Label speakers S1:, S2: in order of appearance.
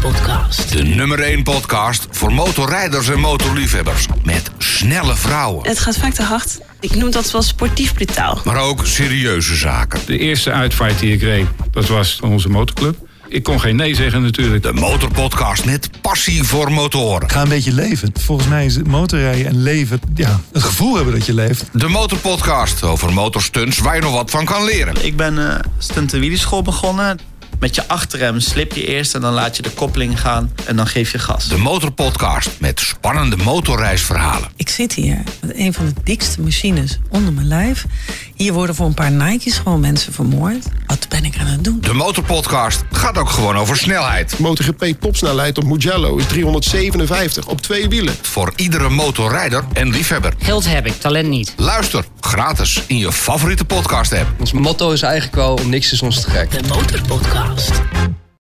S1: podcast.
S2: De nummer 1 podcast voor motorrijders en motorliefhebbers. Met snelle vrouwen,
S1: Het gaat vaak te hard. Ik noem dat wel sportief brutaal.
S2: maar ook serieuze zaken.
S3: De eerste uitvaart die ik reed, dat was onze motorclub. Ik kon geen nee zeggen natuurlijk.
S2: De motorpodcast met passie voor motoren.
S4: Ga een beetje leven. Volgens mij is het motorrijden en leven, ja, het gevoel hebben dat je leeft.
S2: De motorpodcast over motorstunts waar je nog wat van kan leren.
S5: Ik ben eh stunt- en wielerschool begonnen. Met je achterrem slip je eerst en dan laat je de koppeling gaan en dan geef je gas.
S2: De motorpodcast met spannende motorreisverhalen.
S6: Ik zit hier met een van de dikste machines onder mijn lijf. Hier worden voor een paar Nike's gewoon mensen vermoord. Wat ben ik aan het doen?
S2: De motorpodcast gaat ook gewoon over snelheid.
S7: MotoGP topsnelheid op Mugello is 357 op twee wielen.
S2: Voor iedere motorrijder en liefhebber.
S8: Geld heb ik, talent niet.
S2: Luister gratis in je favoriete podcast app.
S9: Ons motto is eigenlijk wel niks is ons te gek.
S1: De Motorpodcast.